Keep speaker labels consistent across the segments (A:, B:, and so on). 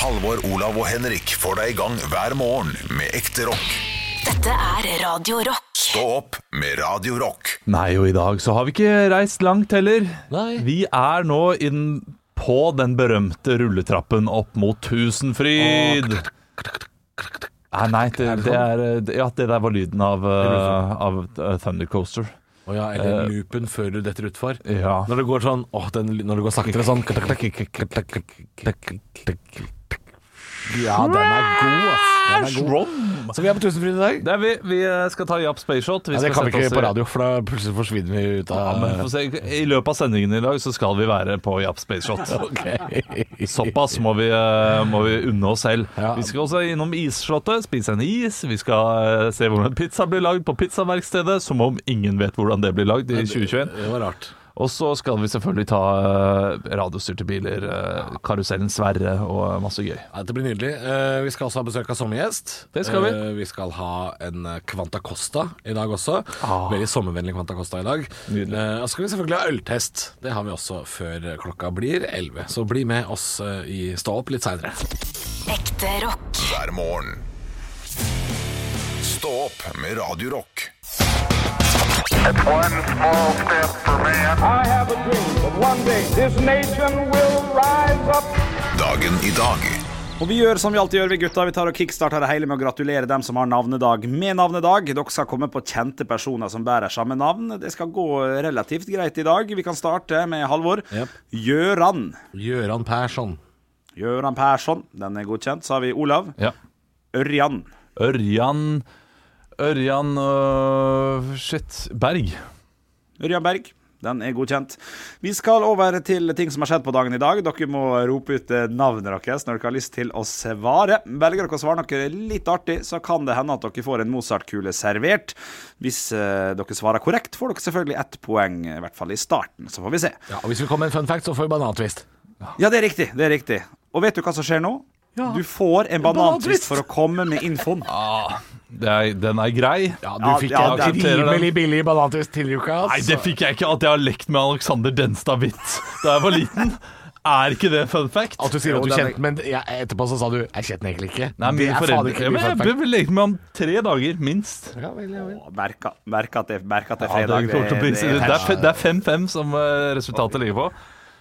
A: Halvor, Olav og Henrik får deg i gang hver morgen med ekte rock.
B: Dette er Radio Rock.
A: Stå opp med Radio Rock.
C: Nei, og i dag så har vi ikke reist langt heller.
D: Nei.
C: Vi er nå inn på den berømte rulletrappen opp mot Tusenfryd. Nei, nei, det, det
D: sånn?
C: er Ja, det der var lyden av, uh, av uh, Thunder Coaster.
D: Å ja, eller loopen før du detter utfor.
C: Ja.
D: Når det går sånn åh, den, Når det går saktere sånn Ja, den er god, ass. Den er god. Så vi er på Tusenfryd i dag.
C: Det er vi. Vi eh, skal ta Japp Spaceshot. Vi
D: Ja, det
C: skal
D: kan
C: sette
D: vi ikke
C: oss i-
D: på radio, for da plutselig forsvinner vi ut
C: Ja,
D: av
C: men få se, I løpet av sendingen i dag så skal vi være på Japp Spaceshot. Såpass må vi, eh, må vi unne oss selv.
D: Ja.
C: Vi skal også innom Isslottet, spise en is. Vi skal eh, se hvordan pizza blir lagd på pizzaverkstedet, som om ingen vet hvordan det blir lagd i 2021.
D: Det var rart.
C: Og så skal vi selvfølgelig ta eh, radiostyrte biler, eh, karusellen Sverre og masse gøy.
D: Ja, Dette blir nydelig. Eh, vi skal også ha besøk av sommergjest.
C: Det skal vi.
D: Eh, vi skal ha en eh, Quanta Costa i dag også. Veldig sommervennlig Quanta Costa i dag.
C: Ah. Nydelig.
D: Eh, og så skal vi selvfølgelig ha øltest. Det har vi også før klokka blir 11. Så bli med oss eh, i Stå opp litt seinere.
B: Ekte rock.
A: Hver morgen. Stå opp med Radio Rock.
E: One small step for man.
F: I have a dream that one day this nation will rise up.
A: Dagen i dag.
G: Og vi gjør som vi alltid gjør, vi gutta. Vi tar og kickstarter det hele med å gratulere dem som har navnedag med navnedag. Dere skal komme på kjente personer som bærer samme navn. Det skal gå relativt greit i dag. Vi kan starte med Halvor.
D: Jep.
G: Gjøran.
D: Gøran Persson.
G: Gjøran Persson. Den er godkjent. Så har vi Olav.
C: Ja.
G: Ørjan.
C: Ørjan Ørjan øh, Shit. Berg.
G: Ørjan Berg. Den er godkjent. Vi skal over til ting som har skjedd på dagen i dag. Dere må rope ut eh, navnet deres når dere har lyst til å svare. Velger dere å svare noe litt artig, så kan det hende at dere får en Mozart-kule servert. Hvis eh, dere svarer korrekt, får dere selvfølgelig ett poeng, i hvert fall i starten. Så får vi se.
D: Ja, og hvis vi kommer med en fun fact, så får vi banantvist.
G: Ja, det er riktig. Det er riktig. Og vet du hva som skjer nå? Du får en banantvist for å komme med infoen.
C: Det er, den er grei.
D: Ja, du
G: Ja,
D: fikk
G: ja,
D: en
C: det er-
D: rimelig billig banantvist tidligere i uka. altså.
C: Nei, det fikk jeg ikke. At jeg har lekt med Alexander Denstad-Witt da jeg var liten. Er ikke det fun fact?
D: At du sier at du
G: Jo, den er-
D: kjente Men ja, etterpå så sa du 'jeg kjente den egentlig ikke'.
C: Nei,
D: det
C: mine
D: er faen
C: foreldre
D: ikke
C: ja,
D: mye
C: men
D: fun
C: Jeg
D: fact.
C: ble lekt med han tre dager, minst.
D: Ja, vel, ja, vel.
G: Merka, merka, at, det, merka at det er
C: Ja, det,
G: fredag.
C: kommer til å bli-
G: er
C: det er fe- det er 5-5 som eh, resultatet ligger på.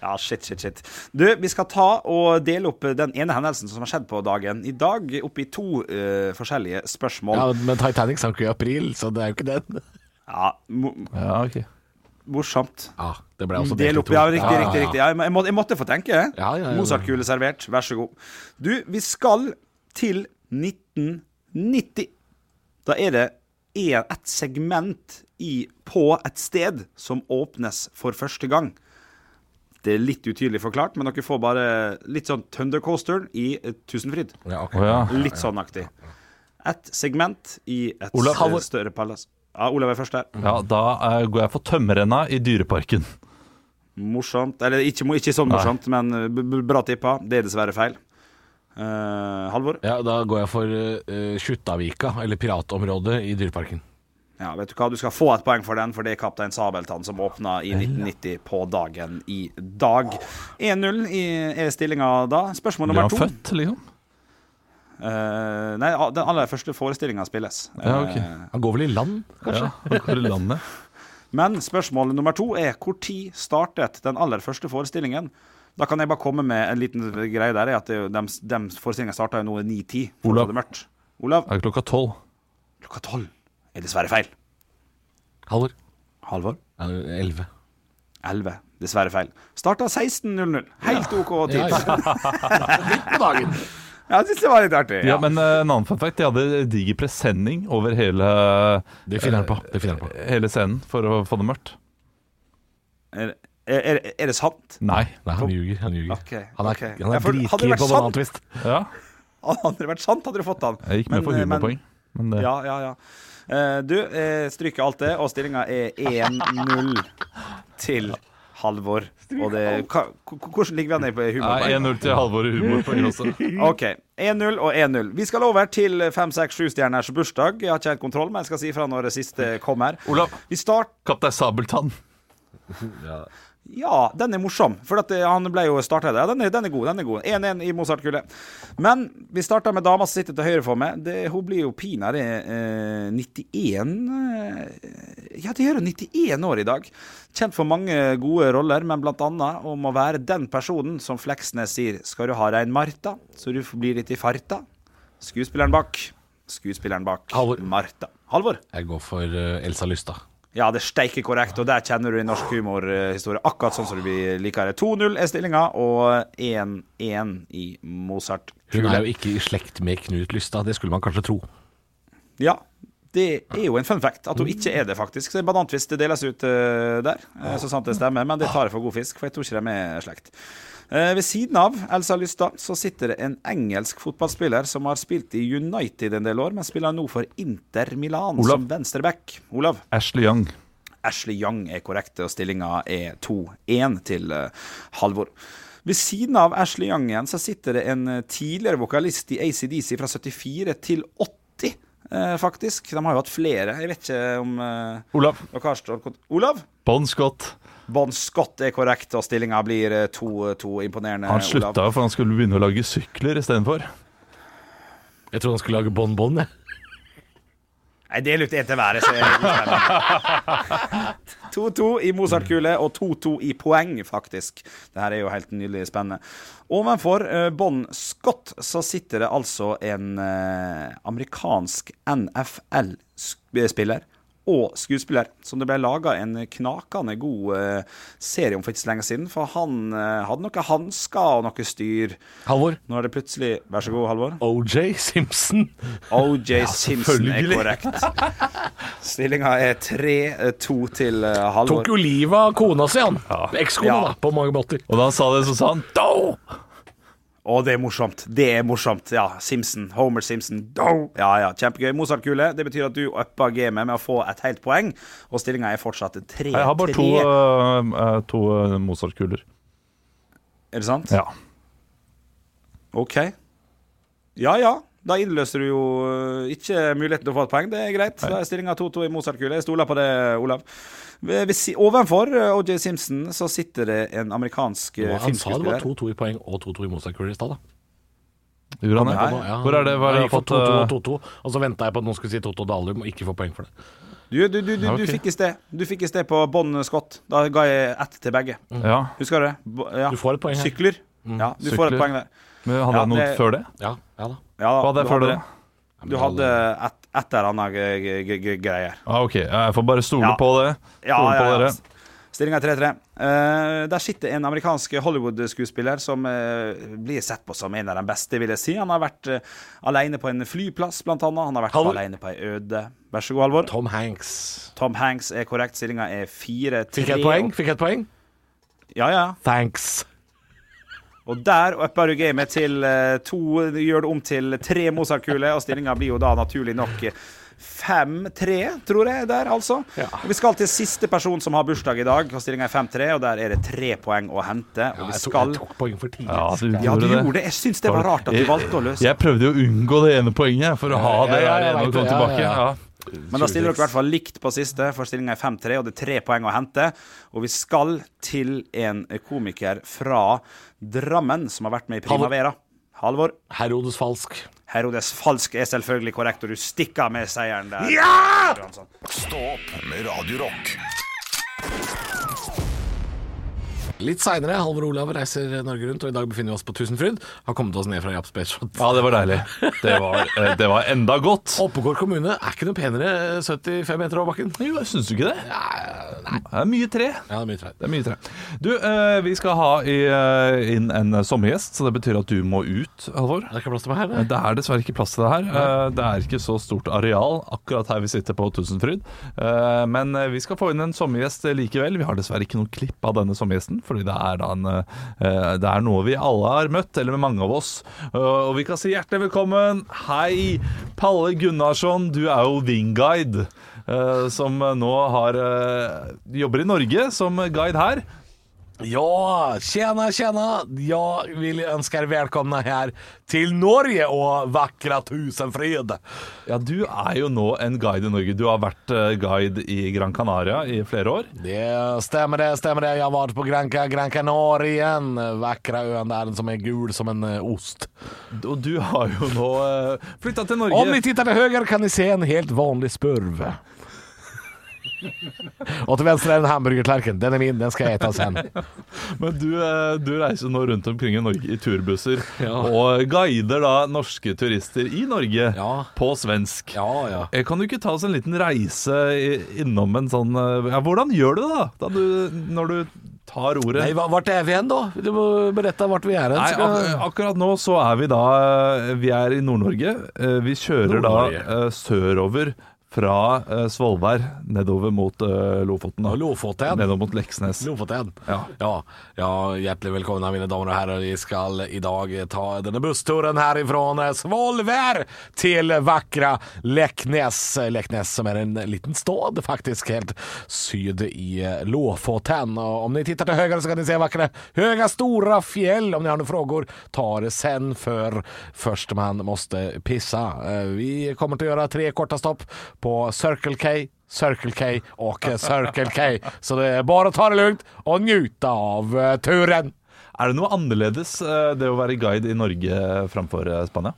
G: Ja, shit, shit, shit. Du, vi skal ta og dele opp den ene hendelsen som har skjedd på dagen i dag, opp i to eh, forskjellige spørsmål.
D: Ja,
G: Ja,
D: men Titanic sank jo i april, så det er jo ikke den.
G: mo
C: Ja, ok
G: morsomt.
D: Ja, Ah, det ble også
G: Mm, Del opp, ja, riktig, riktig. riktig. Ja, jeg, må, jeg må- jeg måtte få tenke.
D: Ja, ja, ja.
G: Mozartkule servert, vær så god. Du, vi skal til 1990. Da er det en- et segment i, på et sted som åpnes for første gang. Det er litt utydelig forklart, men dere får bare litt sånn Thundercoaster i eh, Tusenfryd.
D: Ja, ok.
C: Å, ja.
G: Litt sånn aktig. Et segment i et
C: Olav,
G: s-
C: Halvor.
G: større palass. Ja, Olav er først der.
C: ja, da eh, går jeg for tømmerrenna i Dyreparken.
G: Morsomt. Eller ikke, mo- ikke sånn morsomt, men eh, b b bra tippa. Det er dessverre feil. Eh, Halvor?
D: Ja, da går jeg for uh, Kjuttaviga, eller piratområdet i Dyreparken.
G: Ja, vet du hva? Du skal få et poeng for den, for det er Kaptein Sabeltann som åpna i 1990 på dagen i dag. 1-0 i- er stillinga da. Spørsmål
C: Ble
G: nummer
C: han
G: to.
C: født, liksom?
G: Eh, nei, a- den aller første forestillinga spilles.
C: Ja, ok.
G: Eh,
D: Han går vel i land?
C: Ja, hvor i landet?
G: Men spørsmålet nummer to er når startet den aller første forestillingen? Da kan jeg bare komme med en liten greie der. er at det er jo- dem, dem forestillingene starta jo nå i 9-10. for
C: Olav.
G: å få det mørkt. Olav,
C: Er det klokka tolv?
G: klokka tolv er dessverre feil.
D: Halvor?
G: Halvor?
D: Elleve.
G: 11. Dessverre feil. Starta 16.00. Helt OK tid. Ja,
D: På dagen.
G: jeg syns det var litt artig.
C: Ja, men eh, en annen fun fact. De hadde diger presenning over hele,
D: Det finner han på. Det finner han på.
C: hele scenen for å få det mørkt.
G: Er, er, er det sant?
C: Nei.
D: Nei, han ljuger. Han ljuger.
G: Ok,
D: Han er,
G: ok.
D: han
G: Ja,
D: er
G: for hadde det
D: dritkeen
G: vært
D: på
G: sant-
D: banantvist.
C: Ja,
G: Hadde det vært sant, hadde du fått den.
C: jeg gikk med på
G: Men, eh, men-
C: humorpoeng. Men det,
G: Ja, ja, ja. Eh, du eh, stryker alt det, og stillinga er 1-0 til Halvor. Og det, hva, h- hvordan ligger vi an i på
C: Nei,
G: humorpoeng?
C: 1-0 til Halvor i humorpoeng også.
G: OK. 1-0 og 1-0. Vi skal over til 5-6-7-stjerners bursdag. Jeg har ikke helt kontroll, men jeg skal si fra når det siste kommer.
C: Olav,
G: Vi start...
C: Kaptein Sabeltann.
G: Ja, den er morsom. For at eh, han ble jo startet der. Ja, den er, den er god. den er god 1-1 i Mozart-kullet. Men vi starter med dama som sitter til høyre for meg. Det, hun blir jo pinadø eh, 91 eh, Ja, det gjør hun 91 år i dag. Kjent for mange gode roller, men blant annet om å være den personen som Fleksnes sier Skal du ha deg en Marta, så du blir litt i farta? Skuespilleren bak. Skuespilleren bak
D: Halvor.
G: Marta. Halvor.
D: Jeg går for eh, Elsa Lystad.
G: Ja, det steiker korrekt, og der kjenner du i norsk humorhistorie akkurat sånn som vi liker det. 2-0 er stillinga, og 1-1 i Mozart.
D: Hun er jo ikke i slekt med Knut Lystad, det skulle man kanskje tro.
G: Ja, det er jo en fun fact at hun ikke er det, faktisk. Så det er Banantvist det deles ut eh, der, eh, så sant det stemmer. Men det tar jeg for god fisk, for jeg tror ikke de er slekt. Eh, ved siden av Elsa Lystad så sitter det en engelsk fotballspiller som har spilt i United en del år, men spiller nå for Inter Milan
C: Olav.
G: som venstreback. Olav.
C: Ashley Young.
G: Ashley Young er korrekt, og stillinga er 2-1 til eh, Halvor. Ved siden av Ashley Young igjen så sitter det en eh, tidligere vokalist i ACDC fra 74 til 80, eh, faktisk. De har jo hatt flere. Jeg vet ikke om eh,
C: Olav.
G: dere har stått kont- Olav?
C: Bon Scott.
G: Bon Scott er korrekt, og stillinga blir eh, 2-2. Imponerende.
C: Han slutta jo for han skulle begynne å lage sykler istedenfor.
D: Jeg trodde han skulle lage Bon Bon, jeg.
G: Nei, del ut en til hver. så er det spennende. 2-2 i Mozart-kule og 2-2 i poeng, faktisk. Det her er jo helt nydelig spennende. Ovenfor eh, Bon Scott så sitter det altså en eh, amerikansk NFL-spiller. Og skuespiller, som det ble laga en knakende god eh, serie om for ikke så lenge siden. For han eh, hadde noen hansker og noe styr.
D: Halvor.
G: Nå er det plutselig Vær så god, Halvor.
D: OJ Simpson.
G: OJ Simpson er
D: selvfølgelig.
G: korrekt. Stillinga er 3-2 til eh, Halvor.
D: Tok jo livet av kona si, han. Ekskona,
G: Ja.
D: da, på mange måter.
C: Og da han sa det, så sa han Do!
G: Å, det er morsomt. Det er morsomt. Ja, Simpson. Homer Simpson. Do! Ja, ja, kjempegøy. Mozart-kule. Det betyr at du uppa gamet med å få et helt poeng, og stillinga er fortsatt 3-3.
C: Jeg har bare to, øh, øh, to øh, Mozart-kuler.
G: Er det sant?
C: Ja.
G: OK. Ja, ja. Da innløser du jo eh, ikke muligheten til å få et poeng. Det er greit. Da er stillinga 2-2 i Mozart-kule. Jeg stoler på det, Olav. Ved, ved, si- ovenfor eh, OJ Simpson så sitter det en amerikansk eh,
D: Han sa det
G: filmskuespiller.
D: var 2-2 i poeng og 2-2 i Mozart-kuler i stad, da.
C: Gjorde han
G: Nei.
C: det? Hvor er det? Hva har
D: Nei, jeg
C: jeg
D: gikk
C: fått?
D: for 2-2
C: øh,
D: og 2-2, og så venta jeg på at noen skulle si 2-2 Dalum, og ikke få poeng for det.
G: Du, du, du, du,
C: Ja,
G: du
C: ok.
G: fikk i sted Du fikk i sted på Bon Scott. Da ga jeg ett til begge.
C: Ja.
G: Husker du det? Bo- Ja.
D: Du får et poeng her.
G: Sykler. Ja, du får
C: Sykler.
G: et poeng der.
C: Men hadde
G: Ja,
C: han noe
G: det-
C: før det?
D: Ja, ja da.
G: Ja,
C: Hva hadde
G: du
C: jeg før det? da?
G: Du hadde et, et eller annet g- g- g- greier.
C: Ah, ok, jeg får bare stole
G: Ja.
C: på det. Stole
G: Ja,
C: på
G: ja, ja.
C: dere.
G: Stillinga er 3-3. Eh, der sitter en amerikansk Hollywood-skuespiller som eh, blir sett på som en av de beste, vil jeg si. Han har vært eh, alene på en flyplass, blant annet. Han har vært
D: Halvor.
G: alene på ei øde Vær så god, Halvor.
D: Tom Hanks.
G: Tom Hanks er korrekt. Stillinga er 4-3.
D: Fikk jeg et poeng? Fikk jeg et poeng?
G: Ja, ja.
D: Thanks.
G: Og der upper du gamet til eh, to, du gjør det om til tre Mozart-kuler, og stillinga blir jo da naturlig nok eh, 5-3, tror jeg, der altså.
D: Ja.
G: Og Vi skal til siste person som har bursdag i dag, og stillinga er 5-3, og der er det tre poeng å hente.
D: Ja,
G: Og vi
D: jeg, tok,
G: skal
D: jeg tok poeng for tidlig.
C: Ja, du
G: Ja, du
C: gjorde det.
G: gjorde det. Jeg syns det var rart at du valgte å løse
C: Jeg prøvde jo å unngå det ene poenget for å ha
D: Ja,
C: det
D: ja,
C: der
D: jeg
C: ene
D: vet
C: og komme
D: det. Ja,
C: tilbake.
D: ja,
C: Ja.
D: ja.
G: Men da stiller dere i hvert fall likt på siste, for stillinga er 5-3, og det er tre poeng å hente. Og vi skal til en komiker fra Drammen som har vært med i
D: Halvor.
G: Primavera. Halvor.
D: Herodes Falsk.
G: Herodes Falsk er selvfølgelig korrekt, og du stikker av med seieren der. Johansson.
A: Stå opp med Radio Rock.
D: Litt seinere, Halvor Olav reiser Norge rundt, og i dag befinner vi oss på Tusenfryd. Har kommet oss ned fra Japs Beachfront.
C: ja, det var deilig. Det var, eh, det var enda godt.
D: Oppegård kommune er ikke noe penere eh, 75 meter over bakken.
C: Jo, syns du ikke det? Det er mye tre.
D: Ja, det er mye trær.
C: Det er mye tre. Du, eh, vi skal ha i, eh, inn en sommergjest, så det betyr at du må ut, Halvor.
D: Det er ikke plass til meg her,
C: Det er dessverre ikke plass til det her. Eh, Det er ikke så stort areal akkurat her vi sitter på Tusenfryd. Eh, Men eh, vi skal få inn en sommergjest likevel. Vi har dessverre ikke noe klipp av denne sommergjesten, fordi det er, da en, eh, det er noe vi alle har møtt, eller med mange av oss. Eh, Og vi kan si hjertelig velkommen. Hei, Palle Gunnarsson. Du er jo Vingguide, eh, som nå har eh, jobber i Norge som guide her.
D: Ja, tjena, tjena! Jag vill önska er välkomna här till Norge och vackra Tusenfryd.
C: Ja, du er jo nå en guide i Norge. Du har vært eh, guide i Gran Canaria i flere år.
D: Det stämmer det, stämmer det. Jag har varit på Granca, Gran Canarien. Vackra ön där som är gul som en eh, ost.
C: Og du har jo nå uh, flytta til Norge.
D: Om ni tittar till höger kan ni se en helt vanlig spurv. Och till vänster är en hamburgerklarken. Den är min, den ska jag äta sen.
C: Men du, eh, du reiser nå rundt omkring i Norge i turbusser og guider da norske turister i Norge
D: Ja.
C: på svensk.
D: Ja, ja.
C: Eh, Kan du ikke ta oss en liten reise i- innom en sånn eh, ja, Hvordan gjør du det da, da du, når du tar ordet?
D: Nej, va- vart är vi än då? Du må berätta vart vi är än.
C: Nei,
D: Ska-
C: ak akkurat nå så er vi da eh, Vi er i Nord-Norge. Eh, Vi kjører
D: Nord-Norge.
C: da eh, sørover fra eh, Svolvær nedover mot eh, Lofoten. da.
D: Ja, Lofoten.
C: Nedover mot Leksnes.
D: Lofoten.
C: Ja.
D: Ja. ja, hjärtligt välkomna mina damer och herrar. Vi ska idag ta den här bussturen härifrån Svolvær till vackra Läcknäs. Läcknäs som är en liten stad faktiskt helt syd i Lofoten. Och om ni tittar till höger så kan ni se vackra höga stora fjäll. Om ni har några frågor, ta det sen för först man måste pissa. Eh, Vi kommer att göra tre korta stopp på Circle K, Circle K och eh, Circle K. Så det är bara att ta det lugnt och njuta av eh, turen.
C: Er det noe annerledes eh, det å være guide i Norge framfor eh, Spania?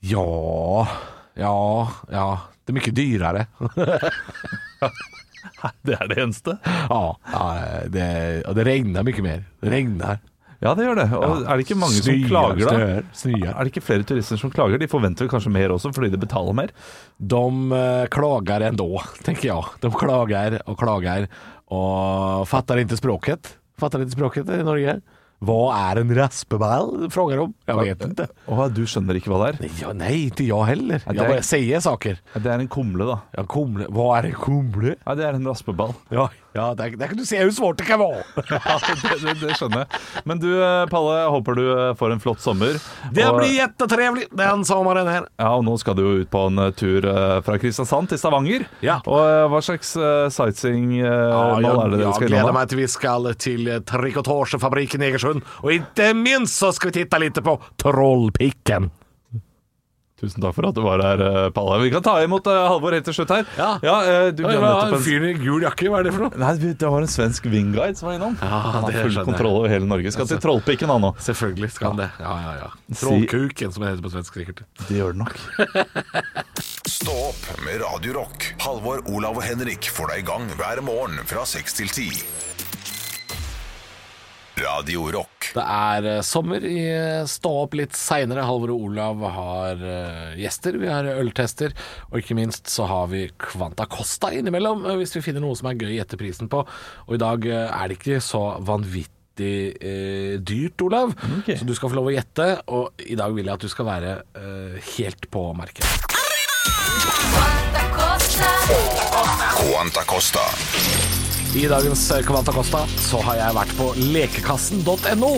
D: Ja, ja, ja. Det är mycket dyrare.
C: Det er det eneste.
D: ja, ja, eh, det, ja, det regnar mycket mer. Det regnar.
C: Ja, det gjør det. Og
D: Ja.
C: er det ikke mange som
D: Snøer,
C: klager da?
D: snøer, snøer.
C: Er det ikke flere turister som klager? De forventer kanskje mer også fordi de betaler mer.
D: De eh, klagar ändå, tänker jag. De klagar och klagar och fattar inte språket. Fattar inte språket i Norge. Vad är en raspeball? Frågar de. Jag vet inte.
C: Å, du skjønner ikke hva det er?
D: Nej, Ja, nej, inte jag heller.
C: Ja,
D: Jag
C: det är-
D: bara säger saker.
C: Det er en kumle, da.
D: Ja, kumle. Vad är en kumle?
C: Ja, det er en raspeball.
D: Ja, ja där, där kan du se hur svårt det kan vara.
C: Ja, det, det, det skjønner jeg. Men du, eh, Palle, jeg håper du eh, får en flott sommer.
D: Det
C: Og-
D: blir jättetrevligt den sommaren här.
C: Ja, og nå skal du jo ut på en eh, tur eh, fra Kristiansand til Stavanger.
D: Ja. Ah,
C: Og eh, hva slags eh, sightseeing eh,
D: Ja,
C: mål er
D: jag,
C: det dere
D: jag
C: skal
D: gleder
C: innom? da?
D: meg til vi skal til eh, trikotagefabriken i Egersund. Og ikke minst så skal vi titta litt på Trollpikken.
C: Tusen takk for at du var her, eh, Palle. Vi kan ta imot eh, Halvor helt til slutt her.
D: Ja.
C: eh, du, vi har nettopp en...
D: i gul jakke, hva er det for noe?
C: Nei, vi- det var en svensk vingguide som var innom. Han har
D: det
C: full
D: skjønner jeg.
C: kontroll over hele Norge. Skal til Trollpikken han nå.
D: Selvfølgelig skal han det. Ja, ja, ja.
C: Si-
D: Trollkuken, som det heter på svensk sikkert.
C: Det gjør det nok.
A: Stå opp med Radio Rock. Halvor, Olav og Henrik får deg i gang hver morgen fra 6 til 10. Radio Rock.
D: Det er eh, sommer. I eh, Stå opp litt seinere. Halvor og Olav har eh, gjester. Vi har øltester. Og ikke minst så har vi Kvanta Costa innimellom, eh, hvis vi finner noe som er gøy å gjette prisen på. Og i dag eh, er det ikke så vanvittig eh, dyrt, Olav. Så du skal få lov å gjette. Og i dag vil jeg at du skal være eh, helt på merket.
A: Quanta Costa.
D: I dagens eh, Kvanta Costa så har jeg vært på lekekassen.no.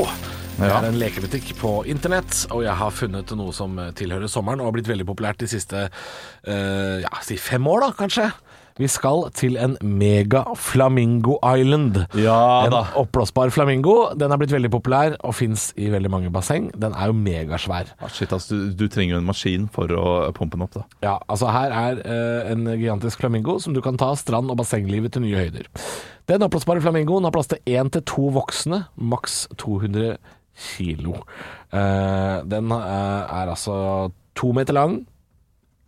D: Det
C: Ja.
D: er en lekebutikk på internett, og jeg har funnet noe som tilhører sommeren og har blitt veldig populært de siste eh, ja, si fem år, da, kanskje. Vi skal til en mega flamingo island.
C: Ja
D: en
C: da.
D: oppblåsbar flamingo. Den er blitt veldig populær og fins i veldig mange basseng. Den er jo megasvær.
C: Ah, shit, ass, du, du trenger jo en maskin for å pumpe den opp, da.
D: Ja, altså her er eh, en gigantisk flamingo som du kan ta strand- og bassenglivet til nye høyder. Den oppblåsbare flamingoen har plass til én til to voksne, maks 200 kilo. Eh, den eh, er altså to meter lang,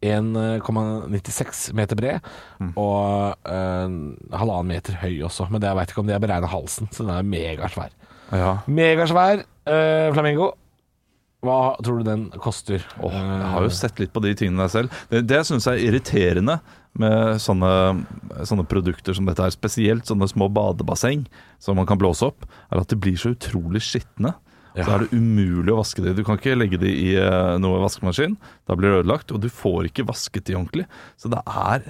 D: 1,96 meter bred
C: Mm.
D: og eh, halvannen meter høy også. Men det, jeg veit ikke om det er beregna halsen, så den er megasvær.
C: Ja.
D: Megasvær eh, flamingo. Hva tror du den koster? Eh,
C: Åh, jeg har jo sett litt på de tingene der selv. Det, det syns jeg er irriterende med sånne, sånne produkter som dette her, spesielt sånne små badebasseng som man kan blåse opp, er at de blir så utrolig skitne. Så
D: Ja.
C: er det umulig å vaske de. Du kan ikke legge de i eh, noe vaskemaskin. Da blir det ødelagt, og du får ikke vasket de ordentlig. Så det er,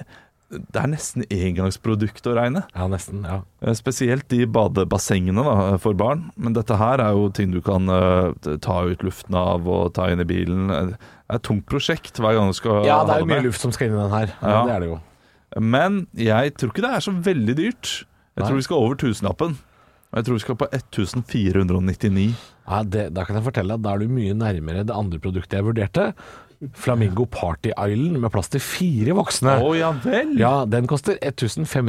C: det er nesten engangsprodukt å regne.
D: Ja, nesten. ja
C: Eh, Spesielt de badebassengene da, for barn. Men dette her er jo ting du kan eh, ta ut luften av og ta inn i bilen. Det er et tungt prosjekt hver gang du skal
D: Ja, det er jo
C: ha
D: mye
C: med.
D: luft som skal inn i den her. Ja.
C: Ja.
D: Det er det jo.
C: Men jeg tror ikke det er så veldig dyrt. Jeg
D: Nei.
C: tror vi skal over tusenlappen. Og jeg tror vi skal på 1499.
D: Ja, det, da kan jeg fortelle at da er du mye nærmere det andre produktet jeg vurderte. Flamingo Party Island med plass til fire voksne.
C: ja vel!
D: Ja, den koster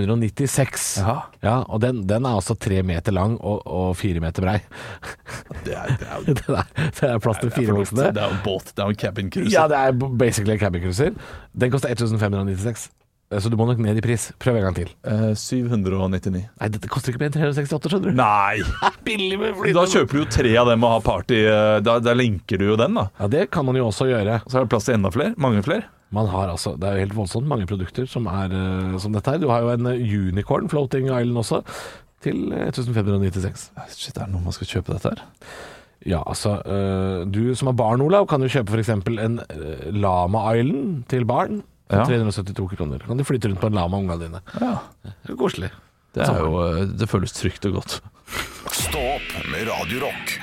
D: 1596.
C: Ja.
D: Ja, og den, den er altså tre meter lang og, og fire meter brei.
C: Det er, det er, jo-
D: Det er, det er plass til
C: det er
D: fire
C: for dumt.
D: voksne.
C: Det er jo en båt, det er jo en cabin cruise.
D: Ja, det er basically en campingcruiser. Den koster 1596. Så du må nok ned i pris. Prøv en gang til.
C: Eh, 799.
D: Nei, dette koster ikke mer enn 368, skjønner du.
C: Nei!
D: Billig med
C: Da kjøper du jo tre av dem og har party. eh, Da, da linker du jo den, da.
D: Ja, det kan man jo også gjøre.
C: Så er det plass til enda flere. Mange flere.
D: Man har altså, Det er jo helt voldsomt mange produkter som er eh, som dette her. Du har jo en eh, unicorn floating island også, til eh, 1596.
C: Shit, er det noe man skal kjøpe dette her?
D: Ja, altså eh, Du som har barn, Olav, kan jo kjøpe f.eks. en eh, lama island til barn. For
C: Ja.
D: 372 kroner. Kan du flytte rundt på en lama med ungene dine.
C: Ja.
D: Det er Koselig.
C: Det, er jo, eh, det føles trygt og godt.
A: Stå opp med Radio Rock.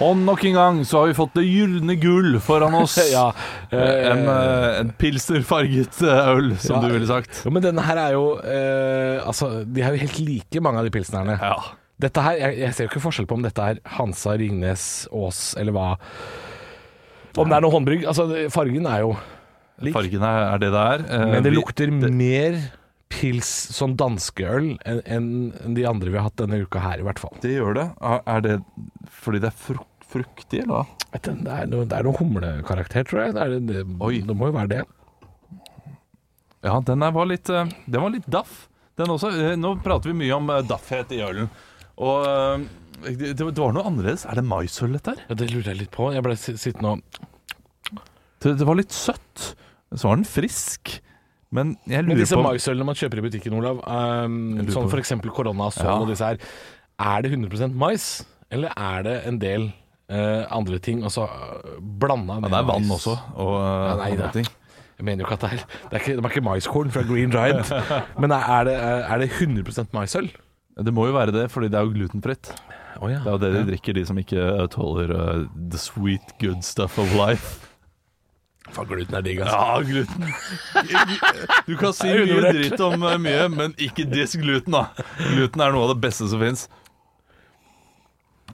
C: Og nok en gang så har vi fått det gylne gull foran oss.
D: Ja, eh,
C: en, eh, en pilserfarget eh, øl, som
D: Ja.
C: du ville sagt.
D: Jo, men denne her er jo eh, Altså, de er jo helt like, mange av de pilsnerne.
C: Ja.
D: Dette her, jeg, jeg ser jo ikke forskjell på om dette er Hansa, Ringnes, Ås eller hva. Om det er noe håndbrygg. Altså, det- fargen er jo lik.
C: Fargen er, er det det er. Eh,
D: Men det
C: vi-
D: lukter mer pils som danskeøl enn enn de andre vi har hatt denne uka her, i hvert fall.
C: Det gjør det. Er, er det fordi det er fruk fruktig, eller hva?
D: Vet du, Det er noe, det er noe humlekarakter, tror jeg. Det, er, det,
C: Oi.
D: det må jo være det.
C: Ja, den her var litt, eh, den var litt daff, den også. Eh, Nå prater vi mye om eh, daffhet i ølen. Og eh, det, det var noe annerledes. Er det maisøl, dette her?
D: Ja, det lurer jeg litt på. Jeg ble si- sittende og
C: Det, det var litt søtt. Så var den frisk. Men jeg
D: Men
C: lurer
D: disse
C: på
D: maisølene man kjøper i butikken, Olav, ehm,
C: Jeg lurer
D: sånn
C: på-
D: f.eks. korona og sånn
C: Ja.
D: og disse her, er det 100 mais, eller er det en del eh, andre ting, altså blanda med
C: Det er vann
D: mais?
C: også, og eh,
D: Ja, nei,
C: andre
D: det-
C: ting.
D: Jeg mener jo ikke at det er, det er, ikke, det er ikke maiskorn fra Green Giant, men er er det, eh, er det 100 maisøl?
C: Det må jo være det, fordi det er jo glutenfritt.
D: Oh, ja.
C: Det er jo det de drikker, de som ikke eh, tåler eh, the sweet good stuff of life.
D: Faen, gluten er digg, altså.
C: Ja, gluten. Du kan si
D: Det er
C: mye
D: undervurdert.
C: dritt om eh, mye, men ikke diss gluten, da. Gluten er noe av det beste som fins.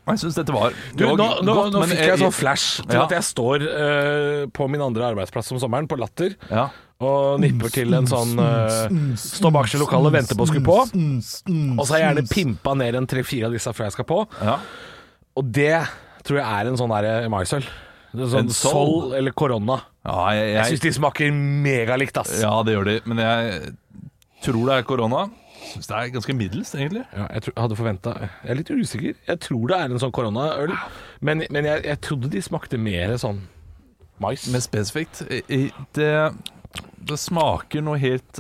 C: Jeg syns dette var
D: Du,
C: det
D: nå,
C: var
D: nå,
C: godt,
D: nå
C: men
D: fikk jeg sånn flash til
C: Ja.
D: at jeg står eh, på min andre arbeidsplass om sommeren, på Latter,
C: ja.
D: og nipper til en sånn uh, Står bak seg i lokalet og venter på å skulle på. Og så har jeg gjerne pimpa ned en tre-fire av disse før jeg skal på.
C: Ja.
D: Og det tror jeg er en sånn derre maisøl. Det er Sånn
C: En sol?
D: sol eller korona.
C: Ja, jeg,
D: Jeg syns
C: jeg,
D: de smaker megalikt, ass.
C: ja, det gjør de. Men jeg tror det er korona. Syns det er ganske middels, egentlig.
D: Ja, jeg, tror, jeg hadde forventa Jeg er litt usikker. Jeg tror det er en sånn koronaøl, men, men jeg, jeg trodde de smakte mer sånn mais.
C: Mer spesifikt. i- i- Det, det smaker noe helt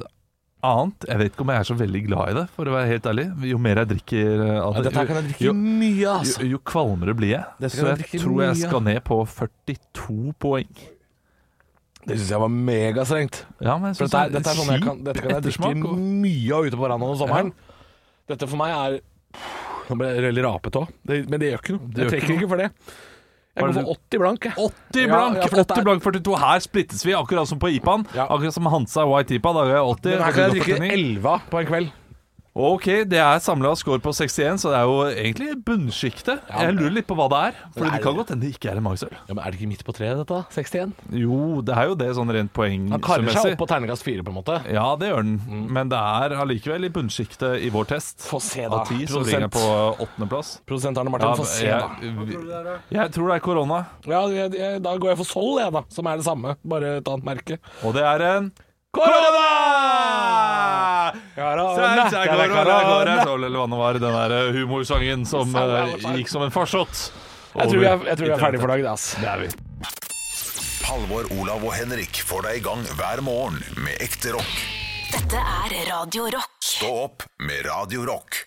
C: annet. Jeg vet ikke om jeg er så veldig glad i det, for å være helt ærlig. Jo mer jeg drikker eh, av
D: ja,
C: det,
D: dette her
C: jo-
D: kan jeg drikke
C: jo,
D: mye av, ass.
C: jo, jo kvalmere blir jeg.
D: Dette
C: Så
D: kan jeg
C: jeg
D: drikke
C: tror jeg
D: mye av.
C: skal ned på 42 poeng.
D: Det syns jeg var megastrengt.
C: Ja, men jeg
D: For
C: synes
D: dette, er-
C: det
D: dette, er sånn jeg kan,
C: kjip
D: dette kan jeg drikke
C: ettersmak, og-
D: mye av ute på verandaen om sommeren. Dette for meg er Nå ble jeg veldig rapete òg, men det gjør ikke noe.
C: Det gjør
D: Jeg
C: ikke
D: trekker ikke for det. Jeg
C: Var
D: går
C: det
D: for 80 blank, jeg.
C: 80
D: Ja,
C: blank,
D: ja, for dette
C: 80
D: er-
C: blank 42. Her splittes vi, akkurat som på IPA-en.
D: Ja.
C: Akkurat som Hansa og White IPA. Da gjør jeg 80. og
D: Men
C: du
D: her kan jeg
C: går for
D: drikke
C: 49.
D: 11 på en kveld.
C: Ok, det er samla score på 61, så det er jo egentlig bunnsjiktet. Jeg lurer litt på hva det er, for
D: Det er
C: det kan
D: det.
C: godt hende det ikke er en maisøl.
D: Ja, men Er det ikke midt på treet, dette? 61?
C: Jo, det er jo det sånn rent
D: Han karer seg
C: poengmessig.
D: opp Mm. på terningkast 4, på en måte.
C: Ja, det gjør den, men det er allikevel i bunnsjiktet i vår test.
D: Få se, da.
C: Av ti så
D: Prosent.
C: ligger jeg på åttendeplass.
D: Produsent Arne
C: Ja,
D: Martin, få se, da.
C: jeg, jeg tror det er korona,
D: Ja, jeg, jeg, da går jeg for Sol, jeg, da. Som er det samme, bare et annet merke.
C: og det er en
D: Korona!
C: Korona! Så her går det, her går det, så eller hva det var, den der humorsangen som eh, gikk som en farsott.
D: Jeg tror vi er, jeg tror vi er ferdig for dagen, ass.
C: Det er vi.
A: Halvor, Olav og Henrik får deg i gang hver morgen med ekte rock.
B: Dette er Radio Rock.
A: Stå opp med Radio Rock.